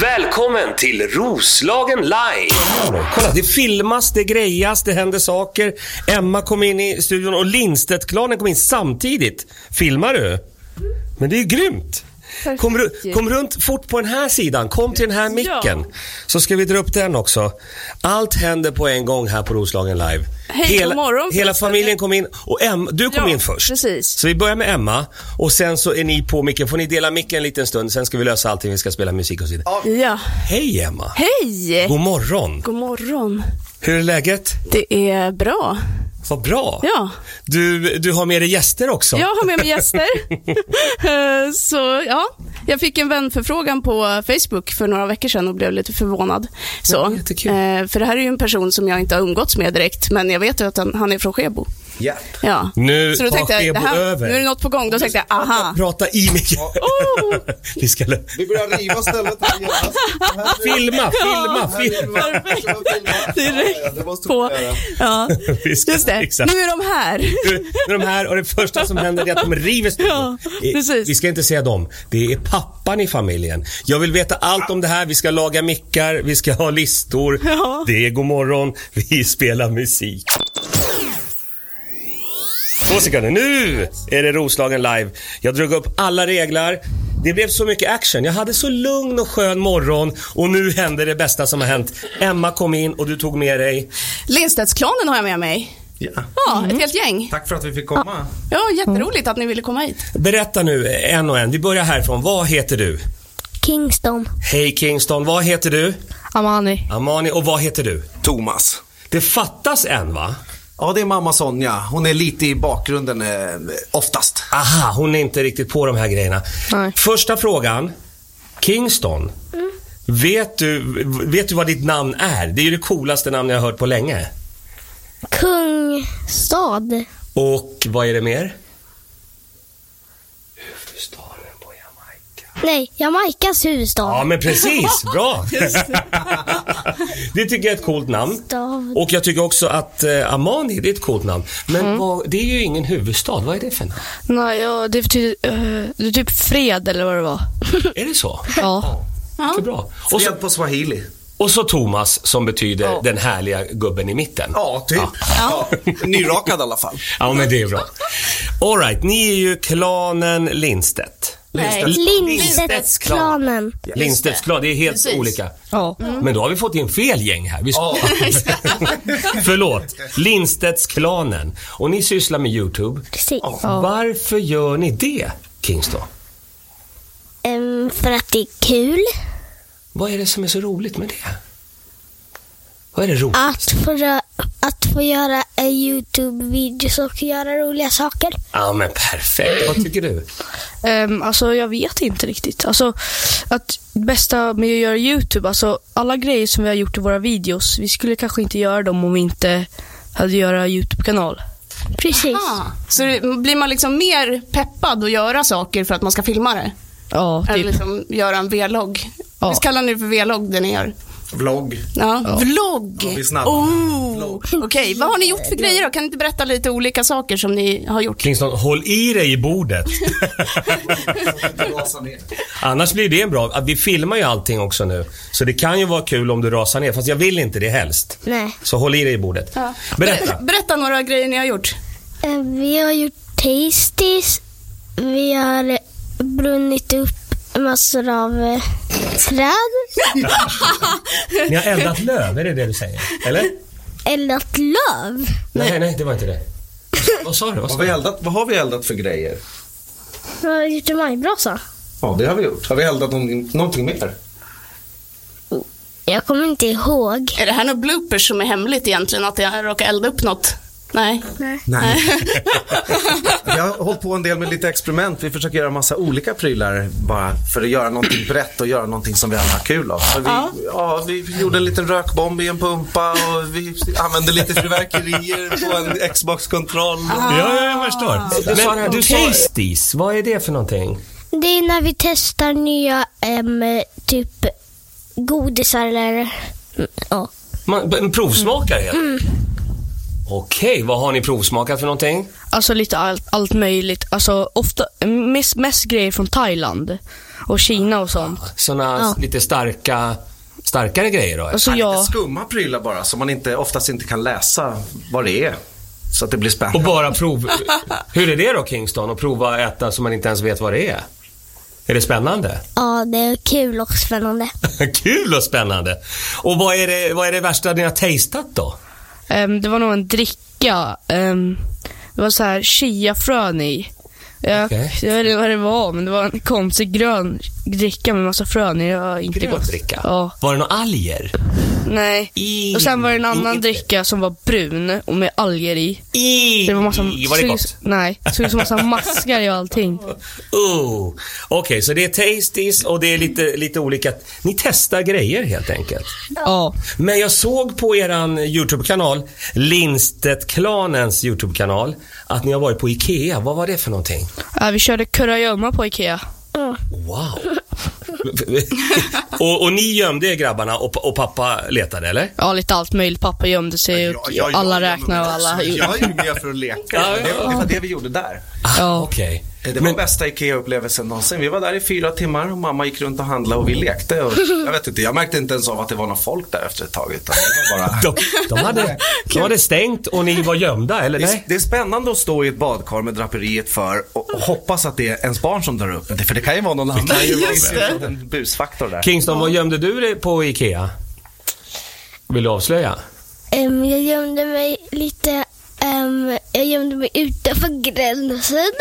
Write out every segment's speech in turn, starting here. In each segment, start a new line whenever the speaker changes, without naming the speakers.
Välkommen till Roslagen live!
Kolla, det filmas, det grejas, det händer saker. Emma kom in i studion och Lindstedt-klanen kom in samtidigt. Filmar du? Men det är ju grymt!
Perfekt
Kom, ru-
ju.
kom runt fort på den här sidan, kom till den här micken. Så ska vi dra upp den också. Allt händer på en gång här på Roslagen live.
Hej, god
hela,
morgon
hela
förresten.
familjen kom in och Em, du kom
Ja,
in först.
precis.
Så vi börjar med Emma och sen så är ni på micken. Får ni dela micken en liten stund, sen ska vi lösa allting. Vi ska spela musik och så vidare.
Ja.
Hej Emma!
Hej!
God morgon!
God morgon.
Hur är läget?
Det är bra.
Vad bra!
Ja.
Du, du har med dig gäster också.
Jag har med mig gäster. Eh, Så ja, jag fick en vänförfrågan på Facebook för några veckor sedan och blev lite förvånad. Så,
Ja, jättekul.
eh, för det här är ju en person som jag inte har umgåtts med direkt, men jag vet ju att han, han är från Skebo.
Ja.
Ja.
Nu
så då
tar
tänkte jag,
Skebo
det här,
över.
nu är det något på gång. Då tänkte jag, aha.
Prata i mig.
Oh!
Vi ska lä-
Vi börjar riva stället här genast. Det här blir-
filma, filma,
det här blir-
filma.
perfekt.
det här blir-
Direkt
Ja, det måste vi
På,
göra.
ja,
Vi ska
just det.
fixa.
Nu är de här.
Nu är de här och det första som händer är att de river studion.
Ja,
Eh,
precis.
Vi ska inte säga dem. Det är pappan i familjen. Jag vill veta allt om det här. Vi ska laga mickar, vi ska ha listor.
Ja.
Det är god morgon. vi spelar musik. Två sekunder. Nu är det Roslagen live. Jag drog upp alla regler. Det blev så mycket action. Jag hade så lugn och skön morgon och nu hände det bästa som har hänt. Emma kom in och du tog med dig
Lindstedtsklanen har jag med mig.
Ja.
Ja,
Mm.
ett helt gäng.
Tack för att vi fick komma.
Ja, jätteroligt att ni ville komma hit.
Berätta nu en och en. Vi börjar härifrån. Vad heter du?
Kingston.
Hej Kingston, vad heter du?
Amani.
Amani, och vad heter du?
Thomas.
Det fattas en va?
Ja, det är mamma Sonja. Hon är lite i bakgrunden eh, oftast.
Aha, hon är inte riktigt på de här grejerna.
Nej.
Första frågan. Kingston. Vet, du, vet du vad ditt namn är? Det är ju det coolaste namn jag har hört på länge.
Kungstad.
Och vad är det mer? Huvudstaden på Jamaica.
Nej, Jamaikas
Ja,
huvudstad.
men precis. Bra. det tycker jag är ett coolt namn.
Stad.
Och jag tycker också att eh, Amani, det är ett coolt namn. Men vad, det är ju ingen huvudstad. Vad är det för namn?
Nej, ja, det betyder eh, det är typ fred eller vad det var.
Är det så?
Ja.
Ja. Det är bra. Och, så,
Fred på swahili.
och så Thomas som betyder den härliga gubben i mitten.
Ja, typ. Ja. Nyrakad i alla fall.
Ja, men det är bra. All right, ni är ju klanen Lindstedt.
Nej.
Lindstedtsklanen.
Lindstedts klan, det är helt
Precis. Mm.
olika.
Ja.
Men då har vi fått in fel gäng här. Vi... Förlåt. Lindstedtsklanen. Och ni sysslar med YouTube.
Precis.
Varför gör ni det, Kingston?
Ehm, för att det är kul
Vad är det som är så roligt med det? Vad är det roligt?
att få, rö- att få göra eh, Youtube-videos och göra roliga saker.
Ja, men perfekt. Vad tycker du?
Ehm, alltså jag vet inte riktigt. Alltså att bästa med att göra YouTube, alltså alla grejer som vi har gjort i våra videos, vi skulle kanske inte göra dem om vi inte hade göra YouTube-kanal.
Precis.
Ah, så det, blir man liksom mer peppad att göra saker för att man ska filma det?
Ja,
Eller
typ.
liksom göra en vlogg?
Ja.
Visst kallar ni det för vlogg det ni gör?
Vlogg.
Ja. Vlogg!
vi är snabba.
oh. Okej, vad har ni gjort för grejer då? Kan ni inte berätta lite olika saker som ni har gjort?
Kingston, håll i dig i bordet.
Rasa ner.
Annars blir det en bra... att Vi filmar ju allting också nu. Så det kan ju vara kul om du rasar ner. Fast jag vill inte det helst.
Nej.
Så håll i dig i bordet.
Ja.
Berätta.
Ber- berätta några grejer ni har gjort.
Eh, vi har gjort tasties. Vi har eh, brunnit upp massor av eh, träd.
Ni har eldat löv, är det det du säger? Eller?
Eldat löv.
Nej, nej, det var inte det. Vad sa du? Vad
Vad,
sa
har vi
du?
eldat, vad har vi eldat för grejer?
Vi har gjort en majbrasa.
Ja, det har vi gjort. Har vi eldat någon, någonting mer?
Jag kommer inte ihåg.
Är det här några bloopers som är hemligt egentligen? Att jag råkar elda upp något? Nej.
Nej. Vi har hållit på en del med lite experiment. Vi försöker göra massa olika prylar bara för att göra någonting brett och göra någonting som vi alla har kul av. Så Vi, ja. vi gjorde en liten rökbomb i en pumpa och vi använde lite fyrverkerier på en Xbox-kontroll.
Ja, jag förstår. Men du sa tasties, vad är det för någonting?
Det är när vi testar nya em, typ godisar eller... mm, Ja.
Man b- en provsmakare helt mm. Okej, vad har ni provsmakat för någonting?
Alltså lite allt, allt möjligt. Alltså ofta, mest, mest grejer från Thailand och Kina och sånt.
Såna lite starka, starkare grejer då?
Alltså
Lite
jag,
skumma prylar bara som man inte, oftast inte kan läsa vad det är. Så att det blir
Och
spännande.
bara prov... Hur är det då Kingston? Att prova att äta som man inte ens vet vad det är? Är det spännande?
Ja, det är kul och spännande.
Kul och spännande! Och vad är det, vad är det värsta ni har tastat då?
ehm, det var nog en dricka. ehm, det var så här chiafrön i. Jag,
Okej.
jag vet inte vad det var, men det var en konstig grön dricka med massa frön i. Det var inte
Grön
gott.
dricka?
Ja.
Var det några alger?
Nej.
I-
Och sen var det en annan
i-
dricka som var brun och med alger i.
I,
Det var massa...
var det
såg-
gott?
Nej, det såg ut som massa maskar i och allting.
Oh. Okej, så det är tasties och det är lite, lite olika... Ni testar grejer helt enkelt.
Ja.
Men jag såg på eran YouTube-kanal, Lindstedt-klanens YouTube-kanal, att ni har varit på IKEA. Vad var det för någonting?
ja. Äh, Vi körde kurragömma på Ikea.
Wow. och, och ni gömde er grabbarna och, och pappa letade, eller?
Ja, lite allt möjligt. Pappa gömde sig och alla räknade och alla...
alltså.
Jag är ju med för att leka.
Ja,
Det, var- det var det vi gjorde där.
Ja.
Ah, Okej.
Eh, Det var bästa IKEA-upplevelsen någonsin. Vi var där i fyra timmar och mamma gick runt och handlade och vi lekte. Och jag vet inte, jag märkte inte ens av att det var någon folk där efter ett tag. Utan det, var bara...
De, de, hade, de hade stängt och ni var gömda, eller?
det, är,
Nej.
det är spännande att stå i ett badkar med draperiet för och, och hoppas att det är ens barn som drar upp det. För det kan ju vara någon annan. Det kan ju vara en busfaktor där.
Kingston, vad gömde du dig på IKEA? Vill du avslöja?
Ehm, jag gömde mig lite, ehm, jag gömde mig utanför gränsen.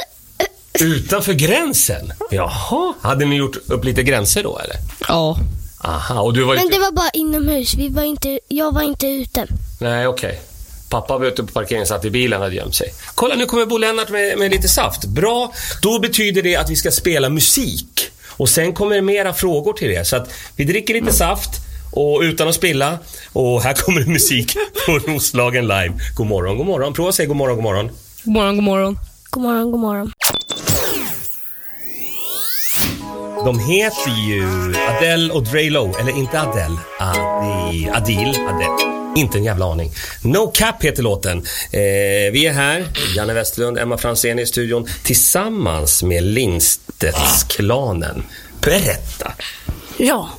Utanför gränsen? Jaha. Hade ni gjort upp lite gränser då, eller?
ja.
Aha, och du var
Men
inte...
det var bara inomhus, vi var inte, jag var inte ute.
Nej, okej. Pappa var ute på parkeringen satt i bilen och hade gömt sig. Kolla, nu kommer Bo Lennart med, med lite saft. Bra. Då betyder det att vi ska spela musik. Och sen kommer det mera frågor till det. Så att vi dricker lite saft och utan att spilla. Och här kommer musik på Roslagen live. God morgon, god morgon. Prova att säga god morgon, god morgon.
God morgon, god morgon.
God morgon, god morgon.
De heter ju Adele och Dre Low, eller inte Adele, Adil, Adil, Adele. Inte en jävla aning. No Cap heter låten. Eh, vi är här, Janne Westlund, Emma Franzén i studion tillsammans med Lindstedtsklanen. Berätta!
Ja,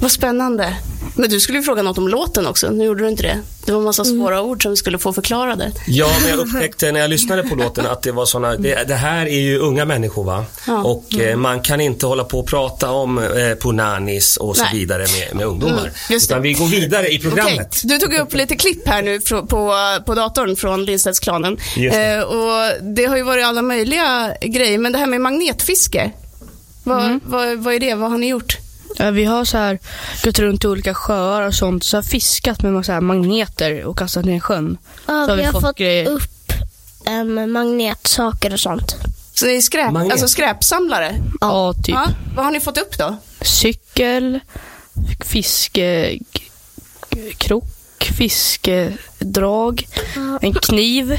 vad spännande. Men du skulle ju fråga något om låten också. Nu gjorde du inte det. Det var en massa svåra ord som vi skulle få förklarade.
Ja, men jag upptäckte när jag lyssnade på låten att det var såna, det, det här är ju unga människor va?
Ja. Mm.
Och eh, man kan inte hålla på och prata om eh, punanis och så
Nej.
vidare med, med ungdomar.
Mm, just det.
Utan vi går vidare i programmet.
Okej, Du tog upp lite klipp här nu fro- på, på datorn från Lindstedtsklanen.
Just det.
Eh, och det har ju varit alla möjliga grejer, men det här med magnetfiske. Vad, vad, vad är det? Vad har ni gjort?
Eh, Vi har så här gått runt i olika sjöar och sånt, så har fiskat med massa här magneter och kastat ner i sjön.
Ja,
så har vi, fått, grejer.
upp ehm, magnetsaker och sånt.
Mm.
Så ni är skräp,
Magnet.
alltså skräpsamlare?
Ja, typ.
Ja, vad har ni fått upp då?
Cykel, fiske, g- krok, fiskedrag, en kniv,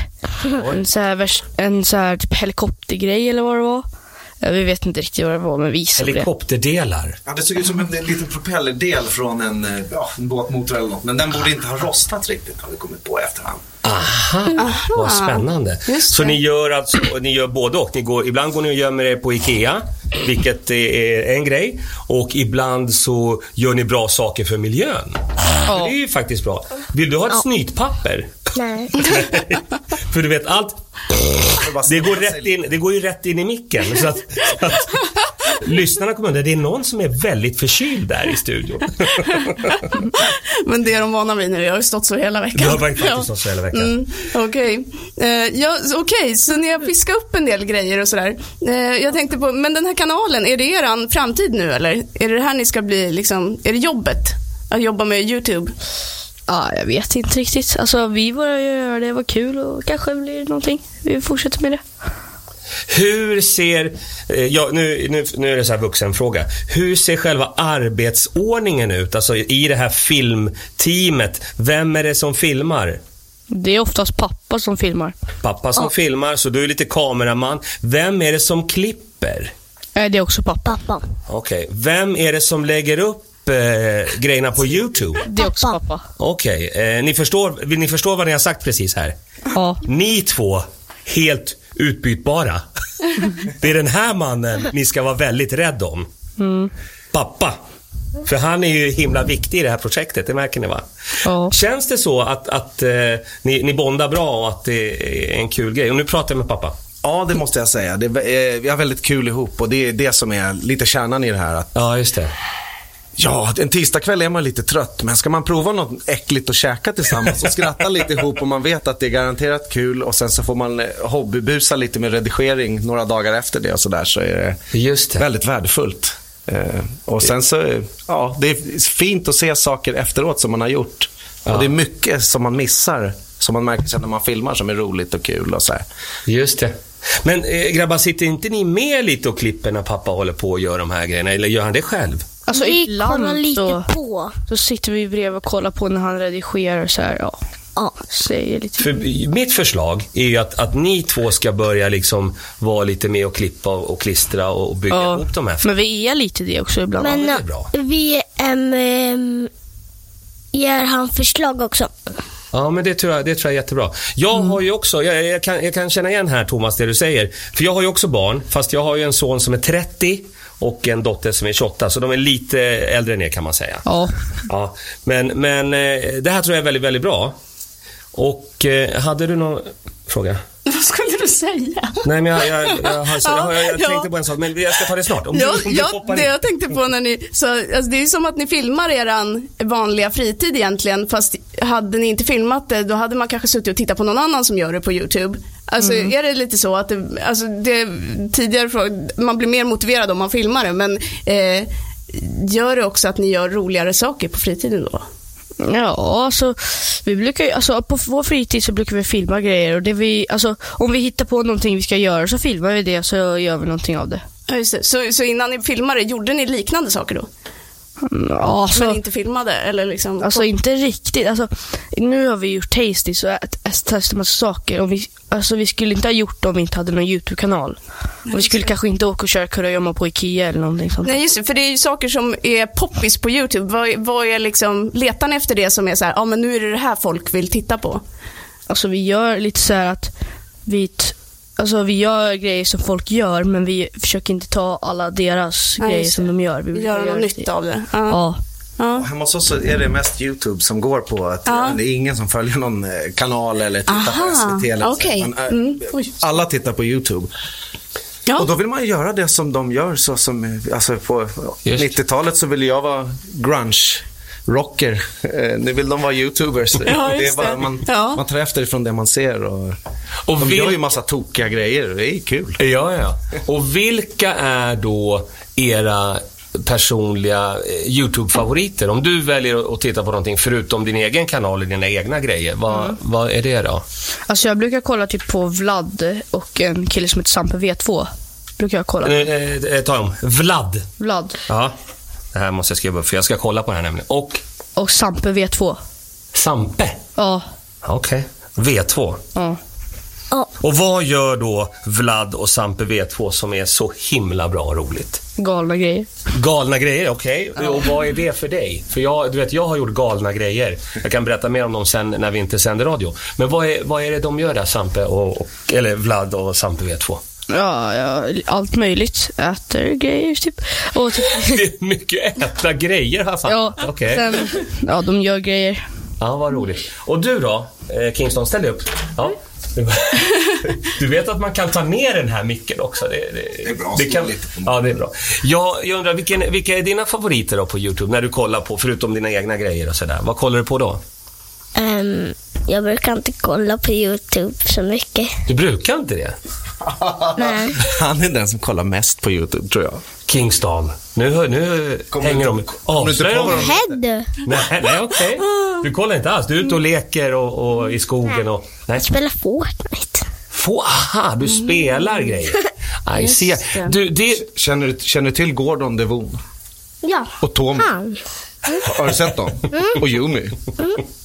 en så här, vers- en så här typ helikoptergrej eller vad det var. Eh, Vi vet inte riktigt vad det var, men vi gissade på det.
Helikopterdelar.
Ja, det såg ut som en, en liten propellerdel från en, eh, ja, en båtmotor eller något. Men den borde inte ha rostat riktigt har vi kommit på i efterhand.
Aha, vad spännande.
Just
Så
det.
ni gör alltså, ni gör både och. Ni går, ibland går ni och gömmer er på IKEA, vilket är en grej. Och ibland så gör ni bra saker för miljön.
Ja.
Det är ju faktiskt bra. Vill du ha ett snytpapper?
Nej.
för du vet, allt det går, rätt in, det går ju rätt in i micken. Så att, så att, lyssnarna kommer undra, det är någon som är väldigt förkyld där i studion.
Men det är de vana vid nu. Jag har ju stått så hela veckan.
Jag har faktiskt ja. så hela veckan.
Mm, Okej, Eh, ja, så- okej, så ni har fiskat upp en del grejer och sådär. Eh, jag tänkte på, men den här kanalen, är det eran framtid nu eller? Är det det här ni ska bli, liksom, är det jobbet? Att jobba med YouTube?
Ja, jag vet inte riktigt. Alltså, vi började göra det, det var kul och kanske blir det någonting. Vi fortsätter med det.
Hur ser, eh, ja, nu, nu, nu är det så här vuxenfråga. Hur ser själva arbetsordningen ut? Alltså i det här filmteamet. Vem är det som filmar?
Det är oftast pappa som filmar.
Pappa som filmar, så du är lite kameraman. Vem är det som klipper?
Eh, Det är också pappa.
Pappa.
Okej. Vem är det som lägger upp upp eh, grejerna på YouTube?
Det är också pappa.
Okej, eh, ni, förstår, ni förstår vad ni har sagt precis här.
Ja.
Ni två, helt utbytbara. Det är den här mannen ni ska vara väldigt rädd om. Pappa. För han är ju himla viktig i det här projektet, det märker ni va?
Ja.
Känns det så att, att eh, ni, ni bondar bra och att det är en kul grej? Och nu pratar jag med pappa.
Ja, det måste jag säga. Det, är- eh, vi har väldigt kul ihop och det är det som är lite kärnan i det här. Att
Ja, just det.
Ja, en tisdagkväll är man lite trött, men ska man prova något äckligt att käka tillsammans och skratta lite ihop och man vet att det är garanterat kul och sen så får man eh, hobbybusa lite med redigering några dagar efter det och sådär så är
Just
det väldigt värdefullt. Eh, Och sen så, eh, ja, det är fint att se saker efteråt som man har gjort. Och det är mycket som man missar, som man märker sen när man filmar, som är roligt och kul och så här.
Just det. Men eh, grabbar, sitter inte ni med lite och klipper när pappa håller på och gör de här grejerna? Eller gör han det själv?
Alltså
vi kollar
ibland
lite
så,
på.
så sitter vi bredvid och kollar på när han redigerar så här, ja.
Ja.
Säger lite.
För mitt förslag är ju att, att ni två ska börja liksom vara lite med och klippa och och klistra och och bygga
Ja.
ihop de här.
Men vi är lite det också ibland.
Men
det är
eh,
bra.
vi ehm, ehm, ger han förslag också.
Ja, men det tror jag, det tror jag är jättebra. Jag
Mm.
har ju också, jag, jag, kan, jag kan känna igen här Thomas det du säger. För jag har ju också barn, fast jag har ju en son som är 30 och en dotter som är 28, så de är lite äldre än er kan man säga.
Ja.
Ja, men, men eh, det här tror jag är väldigt, väldigt bra. Och eh, hade du någon fråga?
Vad skulle du säga?
Nej, men jag, jag, jag, har- jag, jag, jag
Ja.
tänkte på en sak, men jag ska ta det snart. Om du,
Ja,
om du
ja,
hoppar
det
in.
jag tänkte på när ni så, alltså det är ju som att ni filmar eran vanliga fritid egentligen, fast hade ni inte filmat det, då hade man kanske suttit och tittat på någon annan som gör det på YouTube. Alltså
Mm.
är det lite så att det, alltså det tidigare fråga, man blir mer motiverad om man filmar det, men eh, gör det också att ni gör roligare saker på fritiden då?
Ja, alltså, vi brukar ju, alltså, på vår fritid så brukar vi filma grejer. Och det vi, alltså, om vi hittar på någonting vi ska göra så filmar vi det och så gör vi någonting av det.
Ja, just det. Så, så innan ni filmade, gjorde ni liknande saker då?
Mm, Ja,
Men
alltså,
inte filmade? Eller liksom,
alltså inte riktigt. Alltså, nu har vi gjort Tasty så ät- ät- testar massa saker. Och vi, alltså, vi skulle inte ha gjort det om vi inte hade någon YouTube-kanal. Och vi skulle kanske inte åka och köra kurragömma på Ikea eller någonting sånt.
Nej just det, för det är ju saker som är poppis på YouTube. Vad, vad är liksom, letar ni efter det som är så här, ja ah, men nu är det det här folk vill titta på?
Alltså vi gör lite så här att vi, t- alltså, vi gör grejer som folk gör men vi försöker inte ta alla deras
Ja,
grejer
just
som
det.
de gör. Vi brukar
Göra
göra
någon
lite-
nytta av det? Ja.
Ja.
Ja.
Och hemma hos oss så är det mest YouTube som går på att
Ja.
det är ingen som följer någon eh, kanal eller tittar
Aha,
på SVT. Eller så.
okej.
Men, eh,
Mm. Oj.
Alla tittar på YouTube. Och då
Ja.
vill man ju göra det som de gör. Så som, eh, alltså på
Just.
90-talet så ville jag vara grunge. Rocker. Eh, nu vill de vara YouTubers.
Ja,
det
just
är bara,
det.
man,
Ja.
man tar efter ifrån det man ser. Och,
Och
de
vill-
gör ju massa tokiga grejer. Det är kul.
Ja, ja. Och vilka är då era personliga eh, YouTube-favoriter? Om du väljer att titta på någonting förutom din egen kanal och dina egna grejer, vad, vad är det då?
Alltså jag brukar kolla typ på Vlad och en kille som heter Sampe V2. Brukar jag kolla.
Eh, eh, eh, ta om. Vlad.
Vlad
Ja. Det här måste jag skriva upp, för jag ska kolla på det här nämligen. Och
och Sampe V2.
Sampe.
Ja.
Okej. V2.
ja.
Och vad gör då Vlad och Sampe V2 som är så himla bra och roligt?
Galna grejer.
Galna grejer, okej. Och vad är det för dig? För jag, du vet, jag har gjort galna grejer. Jag kan berätta mer om dem sen när vi inte sänder radio. Men vad är, vad är det de gör där, Sampe och, och eller Vlad och Sampe V2?
Ja, ja, allt möjligt. Äter grejer typ. Och typ
Det är mycket äta grejer här fan.
ja,
Okej.
sen, ja, de gör grejer.
Ja, vad roligt. Och du då, eh, Kingston, ställ dig upp. Ja. Du vet att man kan ta ner den här micken också. Det, det,
är bra,
det
stå
kan,
lite på
Ja, det är bra. Jag, jag undrar, vilken, vilka är dina favoriter då på YouTube när du kollar på, förutom dina egna grejer och sådär? Vad kollar du på då?
Ehm, jag brukar inte kolla på YouTube så mycket.
Du brukar inte det?
Nej.
Han är den som kollar mest på YouTube, tror jag.
Kingston, nu, hör- nu
Kommer
hänger
du
de...
inte- kommer du inte
Avslöjar
på vad
de?
de-
Hej du.
Nej, nej okej. Du kollar inte alls. Du är ute och leker och, och i skogen och... Nej.
Spela Fortnite.
Få, aha, du spelar grejer. I see. Du, det,
Känner du, känner du till Gordon Devon?
Ja.
Och Tom?
Han.
Har du sett dem?
Mm.
Och Yumi.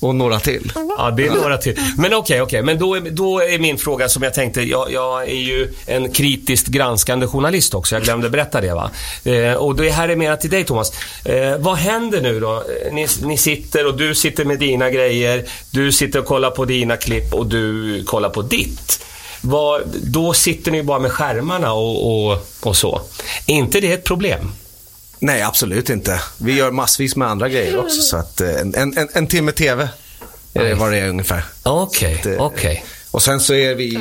Och några till.
Ja, det är några till. Men okej, okej. Men då, är- då är min fråga som jag tänkte. Jag, jag är ju en kritiskt granskande journalist också. Jag glömde berätta det va. Eh, och det här är mera till dig Thomas. Eh, vad händer nu då? Eh, Ni, ni sitter och du sitter med dina grejer. Du sitter och kollar på dina klipp och du kollar på ditt. Vad, då sitter ni bara med skärmarna och, och, och så. Är inte det ett problem?
Nej, absolut inte. Vi gör massvis med andra grejer också. Så att eh, en, en, en, en timme TV är det vad det är ungefär.
Okej,
Det-
okej.
Och sen så är vi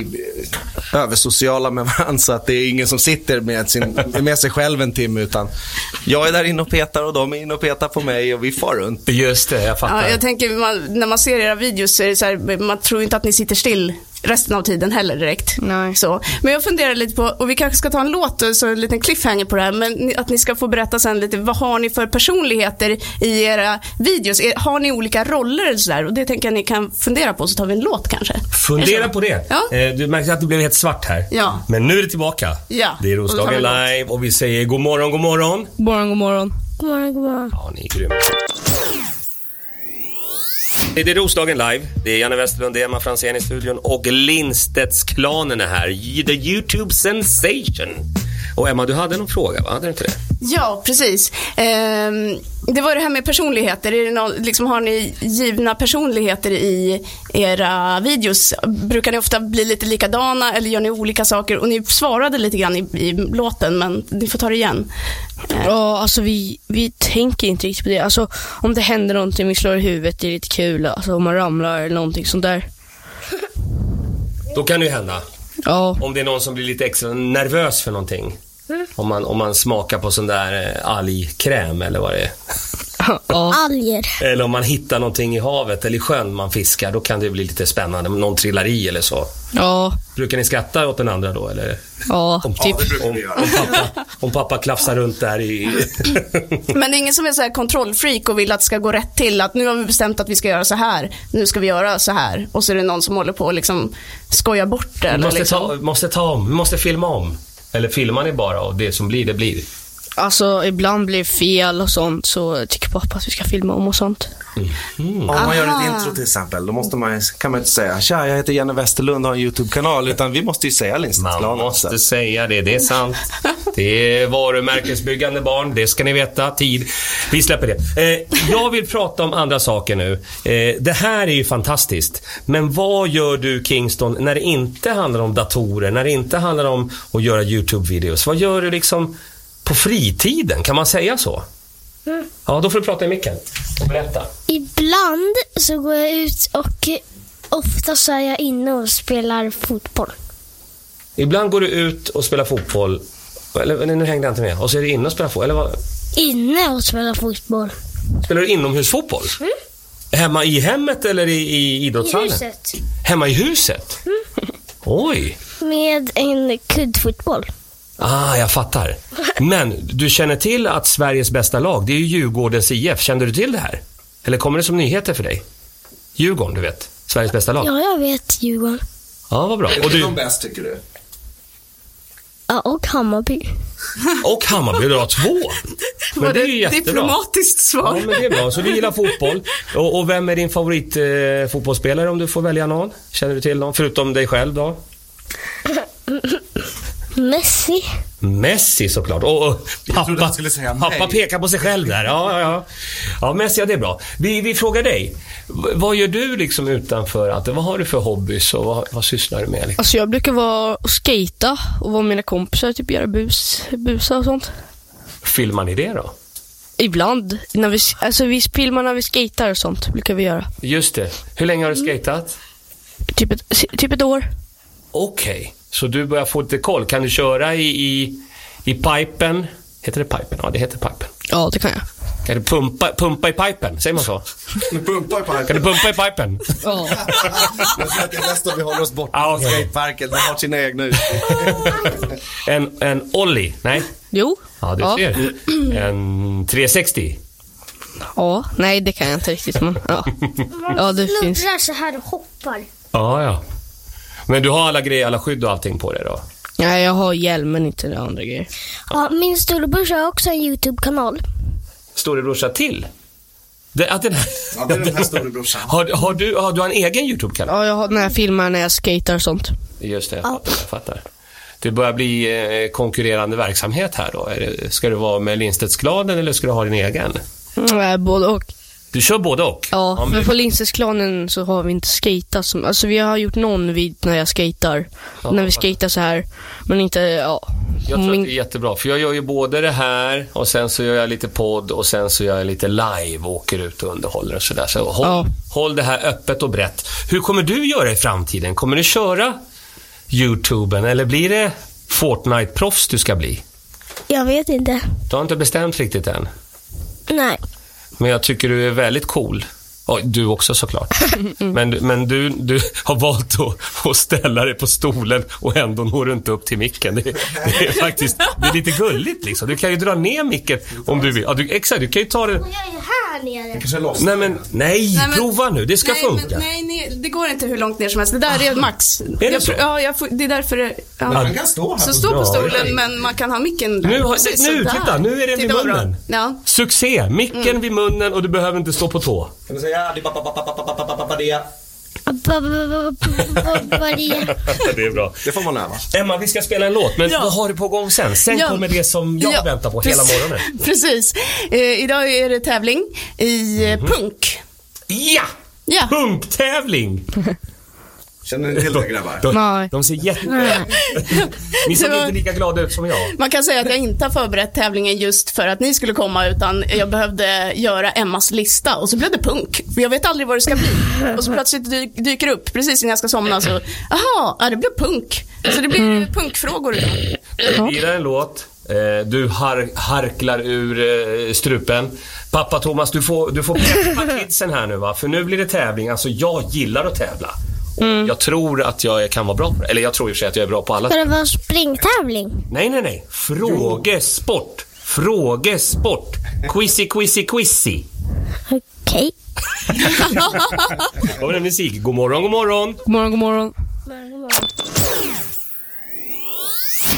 eh, översociala med varandra så att det är ingen som sitter med, sin, med sig själv en timme utan jag är där inne och petar och de är inne och petar på mig och vi far runt.
Just det, jag fattar.
Ja, jag tänker, man, när man ser era videos så är det så här, man tror inte att ni sitter still resten av tiden heller direkt.
Nej.
Så. Men jag funderar lite på, och vi kanske ska ta en låt och så en liten cliffhanger på det här, men ni- att ni ska få berätta sen lite, vad har ni för personligheter i era videos? Er, har ni olika roller eller sådär? Och det tänker jag ni kan fundera på, så tar vi en låt kanske.
Fundera på det.
Ja.
Eh, Du märkte att det blev helt svart här.
Ja.
Men nu är det tillbaka.
Ja.
Det är
Och då
Roslagen
tar vi
live och vi säger god morgon, god morgon.
God morgon, god morgon.
God morgon, god morgon.
Ja, ni är grymma. Det är Roslagen live. Det är Janne Westerlund, det är Emma Franzén i studion och Lindstedtsklanen är här. The YouTube sensation. Och Emma, du hade någon fråga, va? Hade du inte det?
Ja, precis. Ehm, det var det här med personligheter. Är det någon, liksom, har ni givna personligheter i era videos? Brukar ni ofta bli lite likadana eller gör ni olika saker? Och ni svarade lite grann i, i låten, men ni får ta det igen.
Ja, alltså vi, vi tänker inte riktigt på det. Alltså om det händer någonting, vi slår i huvudet, det är lite kul. Alltså om man ramlar eller någonting sånt där.
Då kan det ju hända.
Ja,
Om det är någon som blir lite extra nervös för någonting. Om man, om man smakar på sån där eh, algkräm eller vad det är.
ja,
Alger.
Eller om man hittar någonting i havet eller i sjön man fiskar, då kan det bli lite spännande. Om någon trillar i eller så.
ja,
Brukar ni skratta åt den andra då? Eller?
ja. Typ.
brukar om, om, pappa, om pappa klafsar runt där i...
Men det är ingen som är så här kontrollfreak och vill att det ska gå rätt till. Att nu har vi bestämt att vi ska göra så här, nu ska vi göra så här. Och så är det någon som håller på och liksom skojar bort
Vi
det. Eller
måste,
liksom.
ta, måste ta om, vi måste filma om. Eller filmar ni bara och det som blir, det blir.
Alltså ibland blir det fel och sånt så tycker pappa att vi ska filma om och sånt.
Om man gör ett intro till exempel, då måste man, kan man inte säga “Tja, jag heter Janne Westerlund och har en YouTube-kanal” utan vi måste ju säga
Man
Lindstedtsklanen.
måste säga det, det är sant. Det är varumärkesbyggande barn, det ska ni veta. Tid. Vi släpper det. Eh, jag vill prata om andra saker nu. Eh, det här är ju fantastiskt. Men vad gör du Kingston när det inte handlar om datorer, när det inte handlar om att göra YouTube-videos? Vad gör du liksom på fritiden? Kan man säga så? Ja, då får du prata i micken och berätta.
Ibland så går jag ut och ofta så är jag inne och spelar fotboll.
Ibland går du ut och spelar fotboll. Eller eller nu hängde jag inte med. Och så är du inne och spelar fotboll. Eller vad?
Inne och spelar fotboll.
Spelar du inomhusfotboll? Hemma i hemmet eller i, Mm. i Mm. idrottshallen? Hemma i huset? Oj!
Med en kuddfotboll.
Ah, jag fattar. Men du känner till att Sveriges bästa lag, det är ju Djurgårdens IF. Kände du till det här? Eller kommer det som nyheter för dig? Djurgården, du vet. Sveriges bästa lag. Ja,
Ja, jag vet Djurgården.
vad bra. Och,
Är
du,
de bäst tycker du?
Ja, och Hammarby.
och Hammarby, du har två. Men det är ju jättebra.
diplomatiskt
Ja,
svar?
men det är bra. Så du gillar fotboll. Och, och vem är din favorit eh, fotbollsspelare om du får välja någon? Känner du till någon? Förutom dig själv då?
Messi.
Messi såklart. Och, och
trodde
pappa,
han skulle säga nej.
pappa pekar på sig själv där. Ja, ja, ja. ja Messi, ja, det är bra. Vi, vi frågar dig. V- Vad gör du liksom utanför allt? Vad har du för hobbys och vad, vad sysslar du med? Liksom?
Alltså jag brukar vara och skata och vara med mina kompisar, typ göra bus, busa och sånt.
Filmar ni det då?
Ibland. När vi, alltså vi filmar när vi skatar och sånt, brukar vi göra.
Just det. Hur länge har du skatat?
Typ ett, typ ett år.
Okej, så du börjar få lite koll. Kan du köra i, i, i pipen? Heter det pipen? Ja, det heter pipen.
Ja, det kan jag.
Kan du pumpa, pumpa i pipen? Säger man så?
Pumpar på
Kan du pumpa i pipen?
Ja.
Jag tror att det är bäst om vi håller oss borta
Ah,
från
okej.
skateparken. De har sina egna uttryck.
En, en ollie? Nej?
Jo.
Ja, du ser. En 360?
Ja, nej det kan jag inte riktigt men ja. ja det finns.
så här och hoppar.
Ja, ja. Men du har alla grejer, alla skydd och allting på dig då?
Nej jag har hjälm men inte det andra grejer.
Ja, min storebrorsa har också en YouTube-kanal.
Storebrorsa till? Det, att den här,
Ja, det är den här storebrorsan.
Har, har, du, har du en egen YouTube-kanal?
Ja, jag har, när jag filmar när jag skater och sånt.
Just det, jag fattar. Jag fattar. Det börjar bli eh, konkurrerande verksamhet här då. Är det, ska du vara med Lindstedts Gladen eller ska du ha din egen?
Mm, både och.
Du kör både och?
Ja,
men-
men på Lindstedsklanen så har vi inte skatat som, alltså vi har gjort någon vid när jag skatar.
Ja.
när vi skatar så här, men inte, ja.
Jag tror
Min-
att det är jättebra, för jag gör ju både det här och sen så gör jag lite podd och sen så gör jag lite live och åker ut och underhåller och sådär. Så håll,
Ja.
håll det här öppet och brett. Hur kommer du göra i framtiden? Kommer du köra YouTuben eller blir det Fortnite-proffs du ska bli?
Jag vet inte.
Du har inte bestämt riktigt än,
Nej.
men jag tycker du är väldigt cool. Oj, du också såklart. Men, men du, du har valt att, att ställa dig på stolen och ändå når du inte upp till micken. Det, det är faktiskt det är lite gulligt liksom. Du kan ju dra ner micken om du vill. Ja, du, exakt, du kan ju ta den.
Jag är här nere.
Kanske loss.
Nej, men nej,
Nej, men-
prova nu. Det ska
nej,
funka. Ah.
Men, nej, nej, det går inte hur långt ner som helst. Det där är max.
det
jag,
så?
pr- Ja, jag får, det är därför det... Ja.
Han kan stå här.
Så stå
Ja,
på
ja.
stolen, men man kan ha micken där.
Nu har-
Precis,
nu,
sådär.
titta, nu är den vid
Titta vad bra.
munnen.
Ja.
Succé! Micken vid munnen och du behöver inte stå på tå.
Kan du säga "Adi, ba, ba, ba, ba, ba, ba, ba, ba, ba, det?"
Det är bra.
Det får man öva.
Emma, vi ska spela en låt, men
Ja.
vad har du på gång sen? Sen
Ja.
kommer det som jag
Ja,
väntar på hela
precis.
morgonen.
Precis. Eh, idag är det tävling i eh,
Mhm.
punk.
Ja!
Ja.
Punktävling!
Känner ni till det grabbar?
De,
Nej.
de ser jätte... Ni
Det
ser
var-
inte lika glada ut som jag.
Man kan säga att jag inte har förberett tävlingen just för att ni skulle komma, utan jag behövde göra Emmas lista och så blev det punk. För jag vet aldrig vad det ska bli. Och så plötsligt dy- dyker det upp, precis innan jag ska somna, så, aha, ja, det blev punk. Så det blir punkfrågor idag.
Vi lirar en låt. Eh, Du har, harklar ur eh, strupen. Pappa Thomas, du får, du får peppa kidsen här nu va. För nu blir det tävling. Alltså jag gillar att tävla. Och Jag tror att jag kan vara bra på det. Eller jag tror i och för sig att jag är bra på alla.
Ska det vara springtävling?
Nej, nej, nej. Frågesport. Frågesport. Quizzy, quizzy, quizzy.
Okej.
Kommer det musik? God morgon, god morgon.
God morgon, god morgon.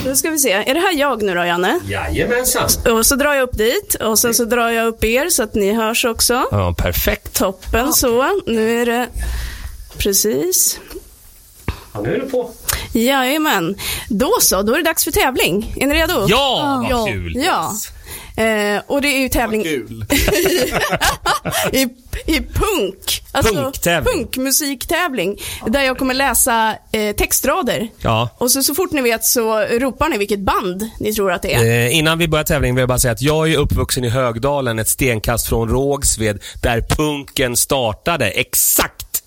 Då ska vi se, är det här jag nu då, Janne?
Jajamensan.
Och så drar jag upp dit och sen så drar jag upp er så att ni hörs också.
Ja, perfekt.
Toppen så, nu är det precis.
Ja, nu är du på.
Jajamän. Då så, då är det dags för tävling. Är ni redo?
Ja, vad kul.
Ja. Eh, och det är ju tävling
Kul.
i, i punk. Alltså,
Punktävling.
Punkmusiktävling. Där jag kommer läsa eh, textrader.
Ja.
Och så, så fort ni vet så ropar ni vilket band ni tror att det är.
Eh, innan vi börjar tävlingen vill jag bara säga att jag är uppvuxen i Högdalen, ett stenkast från Rågsved, där punken startade. Exakt!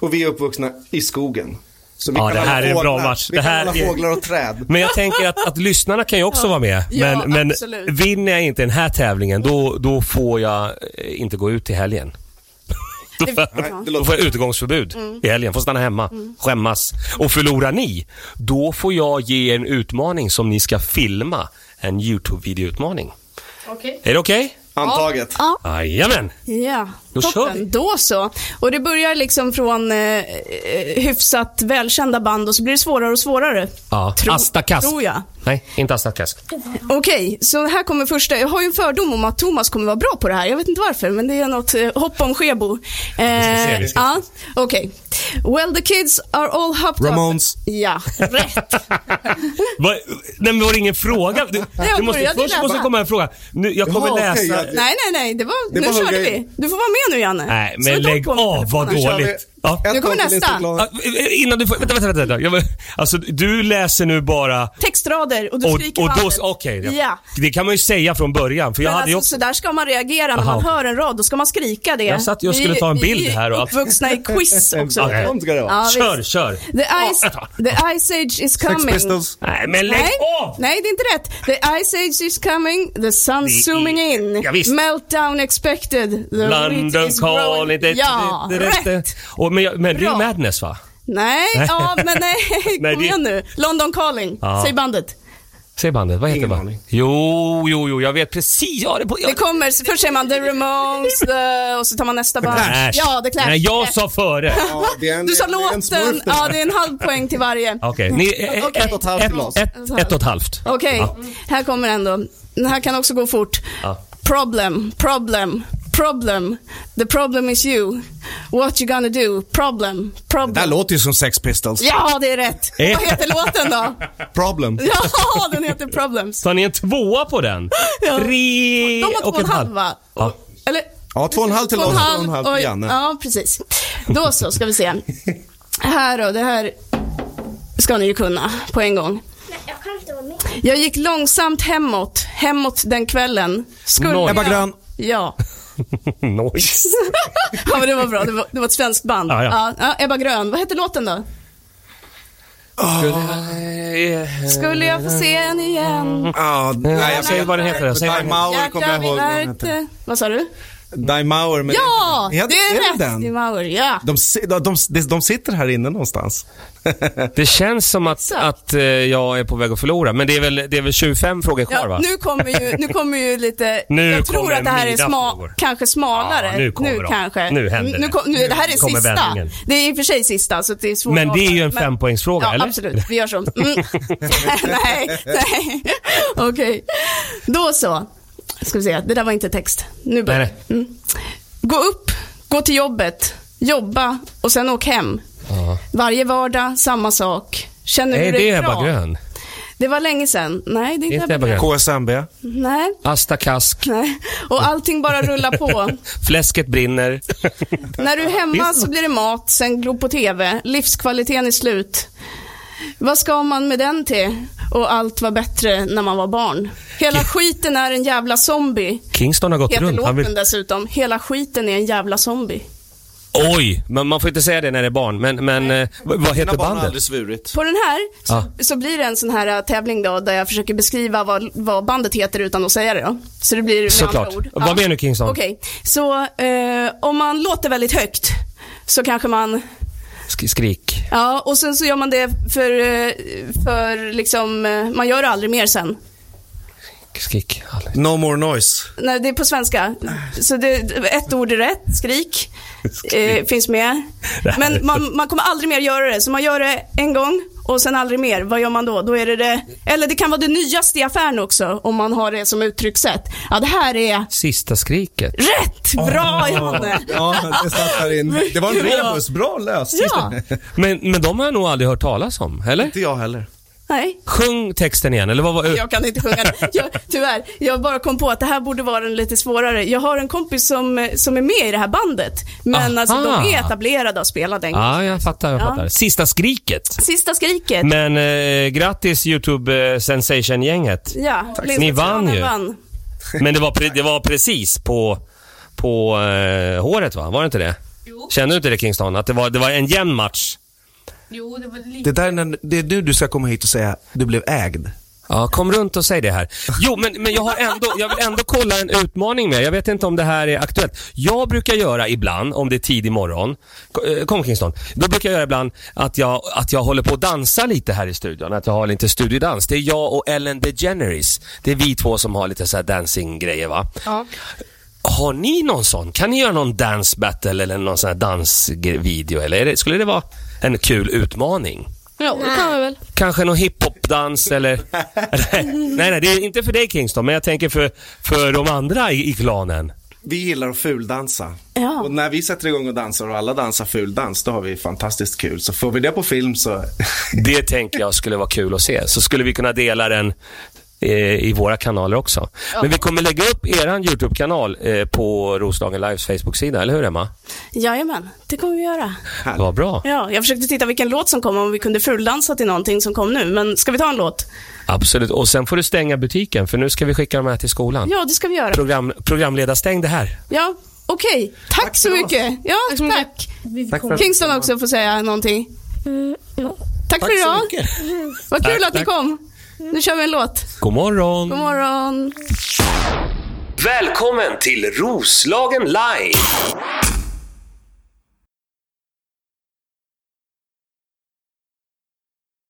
Och vi är uppvuxna i skogen. Så vi
Ja,
kan
det
alla
här är en bra
fåglar-
match.
Vi
Det
kan
här
alla
är-
fåglar och träd.
Men jag tänker att, att lyssnarna kan ju också vara med. Men,
Ja,
men
absolut.
vinner jag inte den här tävlingen, då, då får jag eh, inte gå ut i helgen. Då får,
Nej,
jag,
det
då
låter-
får jag utgångsförbud i helgen. Får stanna hemma, skämmas. Och förlorar ni, då får jag ge er en utmaning som ni ska filma. En YouTube-videoutmaning. Är det okej?
Antaget.
Jajamän!
Ja,
Då kör vi.
Då så. Och det börjar liksom från eh, eh, hyfsat välkända band och så blir det svårare och svårare.
Ja.
Tro-
Asta Kask.
Tror jag.
Nej, inte Asta Kask.
Okej, så här kommer första. Jag har ju en fördom om att Thomas kommer vara bra på det här. Jag vet inte varför, men det är något eh, hopp om skebo. Eh,
se, vi ska
ja, Okej. Well, the kids are all hopped
Ramones.
up. Ja, rätt.
Va, nej, men var det ingen fråga? Du, du måste,
började
först
läsa.
måste det komma en fråga. Nu, jag kommer
Ja, okej,
läsa...
jag-
nej, nej, nej. Det var,
Det
nu
var
körde
okej.
vi. Du får vara med nu, Janne.
Nej,
Sluta
men
upp
lägg
på mig.
av vad
Nu kör vi.
dåligt. Ja.
Ett
Nu kommer
tag till
nästa.
Instagram.
Ja, eh, Innan du får, vänta, vänta, vänta. Jag, vill- alltså, du läser nu bara...
Textrader och du
Och,
skriker
och då,
bandet.
okej.
Ja.
Det kan man ju säga från början. För jag
Men
hade ju
alltså,
också...
så där ska man reagera när
Aha,
man
okej.
hör en rad, då ska man skrika det.
Jag satt ju och skulle ta en bild här och
Vi är
allt.
uppvuxna i quiz också.
Okej.
Sånt ska det vara.
visst.
Kör, kör.
The ice, the ice age is
Sex
coming.
Pistols.
Nej, men lägg
Nej,
av!
nej, det är inte rätt. The ice age is coming, the sun
är-
zooming in,
Ja, visst.
meltdown expected, the wheat
London
is growing.
calling. Det,
Ja,
det, det, det,
rätt.
det. Och, men jag- men det är ju
Bra.
Madness va?
Nej, ja, men nej,
Nej,
kom
det-
igen nu. London calling,
Ja.
säg bandet.
Säg bandet, vad heter
Ingen
bandet?
aning.
Jo, jo, jo, jag vet precis. Ja, det, på, jag,
Det kommer, så först säger man The Ramones, the, och så tar man nästa band.
Clash.
Ja, The Clash.
Nej, jag sa före.
Ja, det är en-
Du sa
det är en
låten,
smurf.
ja det är en halv poäng till varje.
Okej, ni- eh,
Okej.
ett,
Ett och ett halvt
ett-
glas.
ett- ett och ett halvt.
Okej, här kommer den då. Den här kan också gå fort.
Ja.
Problem, problem, Problem. The problem is you. What you gonna do? Problem.
Det där
Problem.
låter ju som Sex Pistols.
Ja, det är rätt.
Eh.
Vad heter låten då?
Problem.
Ja, den heter Problems.
Så ni är en tvåa på den?
Ja.
Tre
Eh,
De har två
och
och
en halv.
va?
Ja.
Eller?
Ja, två och en halv till
Två
oss, två och en halv till
oj,
Janne.
Ja, precis. Då så, ska vi se. Här då, det här ska ni ju kunna på en gång.
Jag kan inte vara med.
Jag gick långsamt hemåt, hemåt den kvällen. Skulle
Noj.
Ebba Grön.
Ja.
Nice.
ja, men det var bra. Det var, det var ett svenskt band.
Ja, ja.
Ebba Grön, vad hette låten då? Skulle jag få se en igen?
Ah, nej, jag
Säg vad den heter. Säg vad
Dai
den heter.
Mauer kommer jag
vi
ihåg. vad den heter.
märkte... Vad sa du?
Dai Mauer. med-
Ja, det
Ja, det är
är rätt.
den.
Det är Mauer, ja.
De, si- de, de, de, de sitter här inne någonstans.
Det känns som att, att eh, jag är på väg att förlora, men det är väl, det är väl 25 frågor kvar va?
Ja, nu kommer ju, nu kommer ju lite,
Nu
jag tror
kommer
att det här är
mina
sma,
frågor.
kanske smalare.
Ja, nu kommer de.
kanske.
Nu händer det.
nu, kom- nu, Det här är
Nu kommer
sista.
vändningen.
Det är i och för sig sista, så det är svårt
Men
att
det är ju en
avgöra. Men-
fempoängsfråga,
ja,
eller?
absolut. Vi gör så. Mm. nej, nej. Okej. Då så. Ska vi se, det där var inte text. Nu börjar
Nej,
mm. Gå upp, gå till jobbet, jobba och sen åk hem. Varje vardag, samma sak. Känner
Är
du
det
dig
Ebba
bra?
Grön?
Det var länge sedan. Nej, det är inte
Inte Ebba Grön.
KSMB.
Nej.
Asta Kask.
Nej. Och allting bara rullar på.
Fläsket brinner.
När du är hemma så blir det mat, sen glo på TV. Livskvaliteten är slut. Vad ska man med den till? Och allt var bättre när man var barn. Hela skiten är en jävla zombie.
Kingston har gått
Heter
runt. Han
låten
vill...
dessutom. Hela skiten är en jävla zombie.
Oj! Men man får inte säga det när det är barn. Men, men eh, vad vad heter
Mina barn har
bandet?
aldrig svurit.
På den här så,
Ah.
så blir det en sån här äh, tävling då, där jag försöker beskriva vad, vad bandet heter utan att säga det då. Så det blir med
Såklart.
andra ord.
Vad
Ja.
menar du, Kingston?
Okej, så eh, om man låter väldigt högt så kanske man
Sk- skrik.
Ja, och sen så gör man det för, eh, för liksom, eh, man gör det aldrig mer sen.
Skrik. Aldrig.
No more noise.
Nej, det är på svenska. Så det, ett ord är rätt, skrik, eh, finns med. Men man, man kommer aldrig mer göra det, så man gör det en gång och sen aldrig mer. Vad gör man då? då är det det, eller det kan vara det nyaste i affären också, om man har det som uttryckssätt. Ja, det här är
Sista skriket.
rätt bra, Janne.
Ja, det satt här inne. Det var en
Mycket bra.
rebus. Bra löst.
Ja,
Men, men de har jag nog aldrig hört talas om, eller?
Inte jag heller.
nej.
Sjung texten igen, eller vad var...
Jag kan inte sjunga den. Jag, tyvärr, jag bara kom på att det här borde vara en lite svårare. Jag har en kompis som, eh, som är med i det här bandet, men
Aha.
alltså, de är etablerade och spelade en gång.
Ja, jag fattar, jag
Ja.
fattar. Sista skriket.
Sista skriket.
Men eh, grattis eh, YouTube-sensation-gänget.
ja, Linda
Ni vann
Trana
ju.
Vann.
Men det var, pre- det var precis på, på eh, håret va? Var det inte det? Jo. Känner du inte det Kingston? Att det var, det var en jämn match?
Det, där, är när- det är nu du ska komma hit och säga du blev ägd.
Ja, kom runt och säg det här. Jo, men, men jag, har ändå, jag vill ändå kolla en utmaning med. Jag vet inte om det här är aktuellt. Jag brukar göra ibland, om det är tidig morgon, K- eh, kom Kingston, då brukar jag göra ibland att jag, att jag håller på att dansa lite här i studion. Att jag har lite studiodans. Det är jag och Ellen DeGeneres. Det är vi två som har lite så här dancing-grejer va?
Ja.
Har ni någon sån? Kan ni göra någon dance battle eller någon sån här dansvideo? Eller är det, skulle det vara en kul utmaning?
Ja, det kan vi väl.
Kanske någon hiphopdans eller... nej, nej, det är inte för dig Kingston, men jag tänker för, för de andra i, i klanen.
Vi gillar att fuldansa.
Ja.
Och när vi sätter igång och dansar och alla dansar fuldans, då har vi fantastiskt kul. Så får vi det på film så...
Det tänker jag skulle vara kul att se. Så skulle vi kunna dela den eh, i våra kanaler också. Men vi kommer lägga upp eran YouTube-kanal eh, på Roslagen Lives Facebook-sida, eller hur Emma?
Jajamän, det kommer vi göra.
Vad bra.
Ja, jag försökte titta vilken låt som kom, om vi kunde fuldansa till någonting som kom nu. Men ska vi ta en låt?
Absolut. Och sen får du stänga butiken, för nu ska vi skicka de här till skolan.
Ja, det ska vi göra.
Program, programledarstäng det här.
Ja, okej. Tack, så mycket. Ja, tack. Kingston också får säga någonting. Tack, för idag. Vad kul
Tack,
att ni
tack.
kom. Nu kör vi en låt.
God morgon.
God morgon.
Välkommen till Roslagen Live!